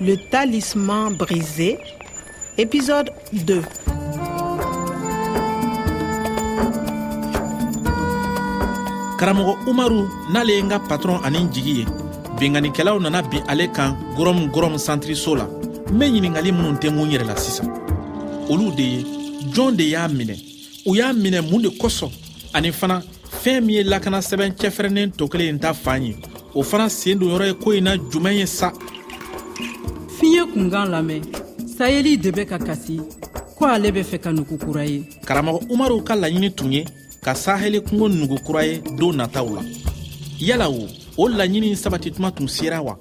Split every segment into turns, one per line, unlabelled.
Le talisman brisé, épisode 2.
karamɔgɔ umaru n'ale ye n ka patɔrɔn ani n jigi ye benganikɛlaw nana bin ale kan gɔrɔm gɔrɔm santiriso la n be ɲiningali minw tɛ mun yɛrɛ la sisan olu de ye jɔn de y'a minɛ u y'a minɛ mun de kosɔn ani fana fɛɛn min ye lakana sɛbɛn cɛfɛrɛnnen tɔ kelen in ta fan ye o fana seen don yɔrɔ ye ko in na juman ye sa
fiɲɛ kunkan lamɛn sayeli de bɛ ka kasi ko ale bɛ fɛ ka nugu kura ye
karamɔgɔ umaru ka laɲini tun ye ka sahɛli kungo nugu kura ye don nataw la yala o o laɲini sabati tuma tun sera wa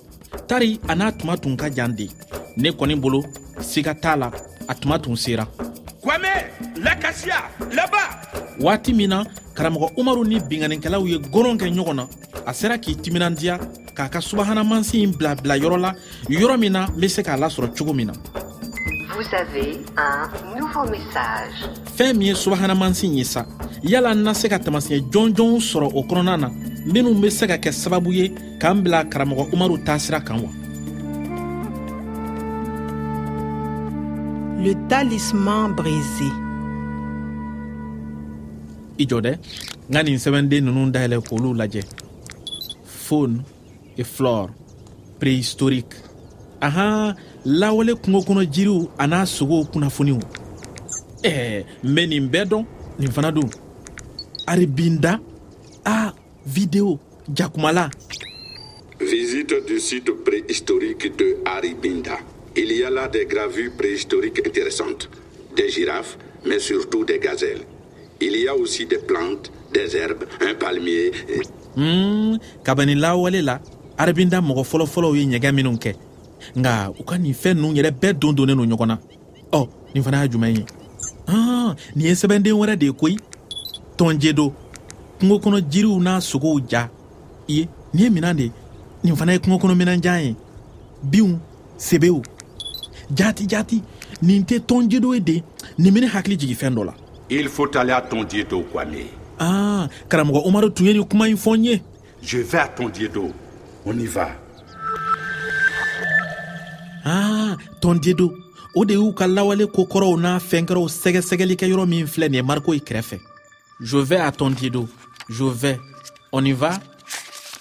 tari a n'a tuma tun ka jan de ne kɔni bolo siga t'a la a tuma tun sera
Kwame, l'acacia, là-bas
waati min na karamɔgɔ umaru ni binganikɛlaw ye goron kɛ ɲɔgɔn na a sera k'i timinandiya k'a ka subahanamansi in bilabila yɔrɔ la yɔrɔ min na n be se k'a lasɔrɔ cogo min na
Vous avez un nouveau message.
fɛɛn min ye subahanamansi ye sa yala n na se ka tamasiɲɛ jɔnjɔnw sɔrɔ o kɔnɔna na minw be se ka kɛ sababu ye k'an bila karamɔgɔ umaru taasira kan wa
Le talisman brisé.
i jɔ dɛ n ka nin sɛbɛnden ninnu dayɛlɛ k'olu lajɛ fone e flore préhistorique ahan lawale kungo kɔnɔ jiriw a n'a sogow kunnafoniw ɛɛ n bɛ nin bɛɛ dɔn nin fana don aribinda a video jakumala
Visite du site préhistorique de Haribinda. Il y a là des gravures préhistoriques intéressantes, des girafes, mais surtout des gazelles. Il y a aussi des plantes, des herbes, un palmier. et-
Mm, kabini lawale la arabinda mɔgɔ fɔlɔfɔlɔw ye ɲɛgɛn minw kɛ nga u ka nin fɛn nunu yɛrɛ bɛɛ don donnen no ɲɔgɔn na ɔ nin fana y'a juman ye an nin ye sɛbɛnden wɛrɛ de ye koyi tɔnjedo kungo kɔnɔ jiriw n'a sogow ja ye nin ye minan de ye. nin fana ye kungo kɔnɔ minanjan ye binw sebew jati jati nin tɛ tɔnjedo ye de nin bɛ ne hakili jigin fɛn dɔ la
Il faut aller à Tondiedo, Kwame.
an karamɔgɔ umaru tun ye nin kuma in fɔ n ye
Je vais à Tondiedo. On y va.
ah tɔndedo o de y'u ka lawale kokɔrɔw n'a fɛnkɛrɛw sɛgɛsɛgɛlikɛ yɔrɔ min filɛ nin ye mariko i kɛrɛfɛ je vais à tɔndedo je vais on y va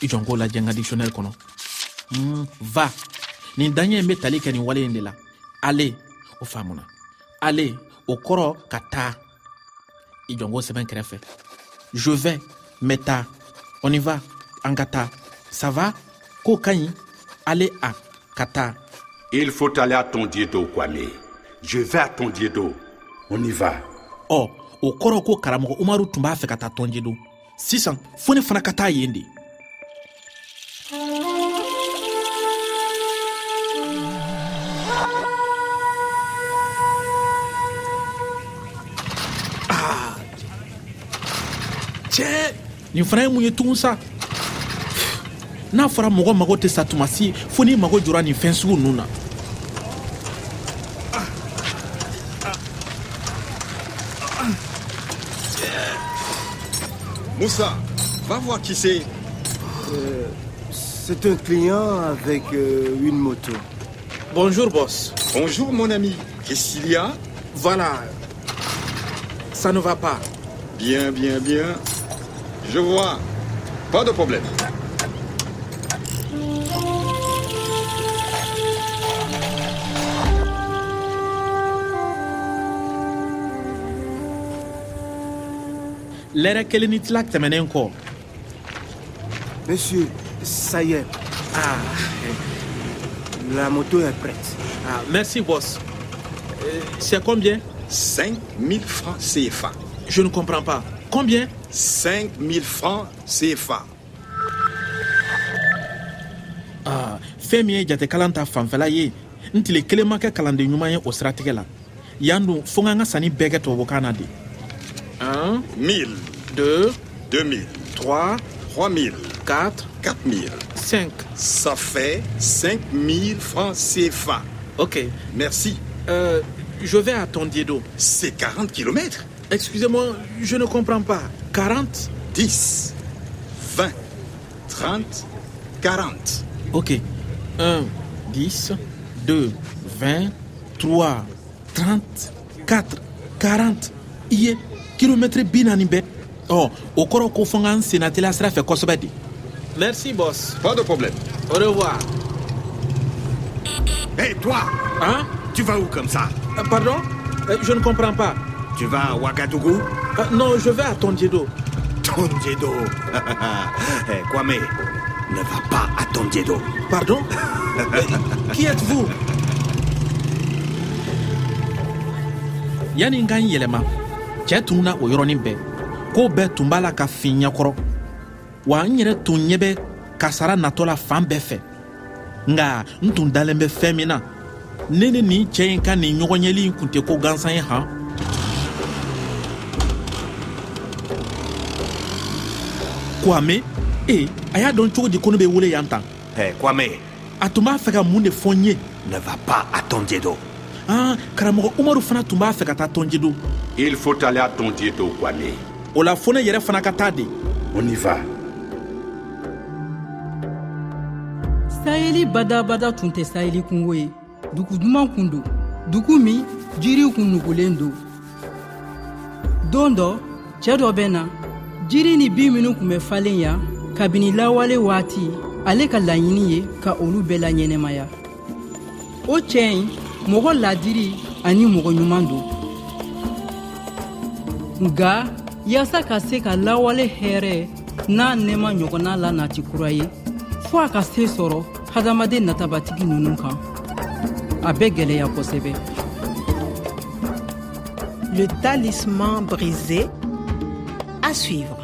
i jɔn k'o lajɛ n ka dictionnaire kɔnɔ mm, va nin daɲɛ in be tali kɛ nin wale in de la ale o faamuna ale o kɔrɔ ka taa i jɔn k'o sɛbɛn kɛrɛfɛ je vais n bɛ taa on y va an ka taa ça va k'o ka ɲi ale a ka taa
Il faut aller à Tondiedo, Kwame. Je vais à Tondiedo. On y va.
ɔ o kɔrɔ ko karamɔgɔ umaru tun b'a fɛ ka taa tɔnje don sisan fo ne fana ka taa yen de Ah! cɛ nin fana ye mun ye tugun sa n'a fɔra mɔgɔ mago tɛ sa tuma si fo n'i mago jɔra nin fɛn sugu ninnu na
Moussa, va voir qui c'est.
C'est un client avec euh, une moto.
bonjour boss
Bonjour mon ami. Qu'est-ce qu'il y a
voilà ça ne va pas
Bien, bien, bien. Je vois. Pas de problème.
lɛrɛ kelen ni tila tɛmɛnen kɔ
Monsieur, ça y est,
ah,
la moto est prête.
ah, merci boss Euh, c'est combien
5 000 francs CFA.
je ne comprends pas combien
5 000 francs CFA.
ah, fɛn min ye jatekalan ta fanfɛla ye n tile kelen ma kɛ kalanden ɲuman ye o siratigɛ la yan don fo n ka n ka sanni bɛɛ kɛ tubabukan na de 1
1000,
2
2000,
3
3000,
4
4000.
5
Ça fait 5 000 francs CFA.
ok
Merci.
euh, je vais à Tondiedo
C'est 40 km.
excusez-moi je ne comprends pas 40
10, 20, 30, 40.
ok 1 10 2, 20, 3, 30, 4, 40 i ye kilomɛtiri bi naani bɛɛ ɔ o kɔrɔ ko fɔ n ka n senna teliya sira fɛ kosɛbɛ de merci boss
Pas de problème.
au revoir
Hé, toi
hein
Tu vas où comme ça
Euh, pardon Euh, je ne comprends pas
Tu vas à Ouagadougou
Euh, non je vais à Tondiedo
Tondiedo Eh, Kwame, ne va pas à Tondiedo.
pardon Euh, qui êtes-vous yanni n ka n yɛlɛma cɛɛ tununa o yɔrɔnin bɛɛ koo bɛɛ tun b'a la ka fin ɲɛkɔrɔ wa n yɛrɛ tun ɲɛ bɛ kasara natɔ la fan bɛɛ fɛ nga n tun dalen bɛ fɛn min na ne ni nin cɛɛ in ka nin ɲɔgɔnɲɛli in kun tɛ ko gansan ye han kwame e a y'a dɔn cogo di ko ne bɛ wele yan tan
Hé, Kwame,
a tun b'a fɛ ka mun de fɔ n ye
ne va pas à Tondiedo.
an karamɔgɔ umaru fana tun b'a fɛ ka taa tɔnjido
Il faut aller à Tondiedo, Kwame.
o la fo ne yɛrɛ fana ka taa de
On y va.
sayeli badabada tun tɛ sayeli kungo ye dugu duman kun don dugu min jiriw kun nugulen don don dɔ cɛɛ dɔ bɛ na jiri ni bin minw kun bɛ falen yan kabini lawale waati ale ka laɲini ye ka olu bɛɛ laɲɛnɛmaya o cɛɛ ɲi mɔgɔ ladiri ani mɔgɔ ɲuman don nga yaasa ka se ka lawale hɛɛrɛ n'a nɛɛma ɲɔgɔnna la nati kura ye fɔɔ a ka se sɔrɔ hadamaden natabatigi ninnu kan a bɛ gwɛlɛya kosɛbɛ
Le talisman brisé. À suivre.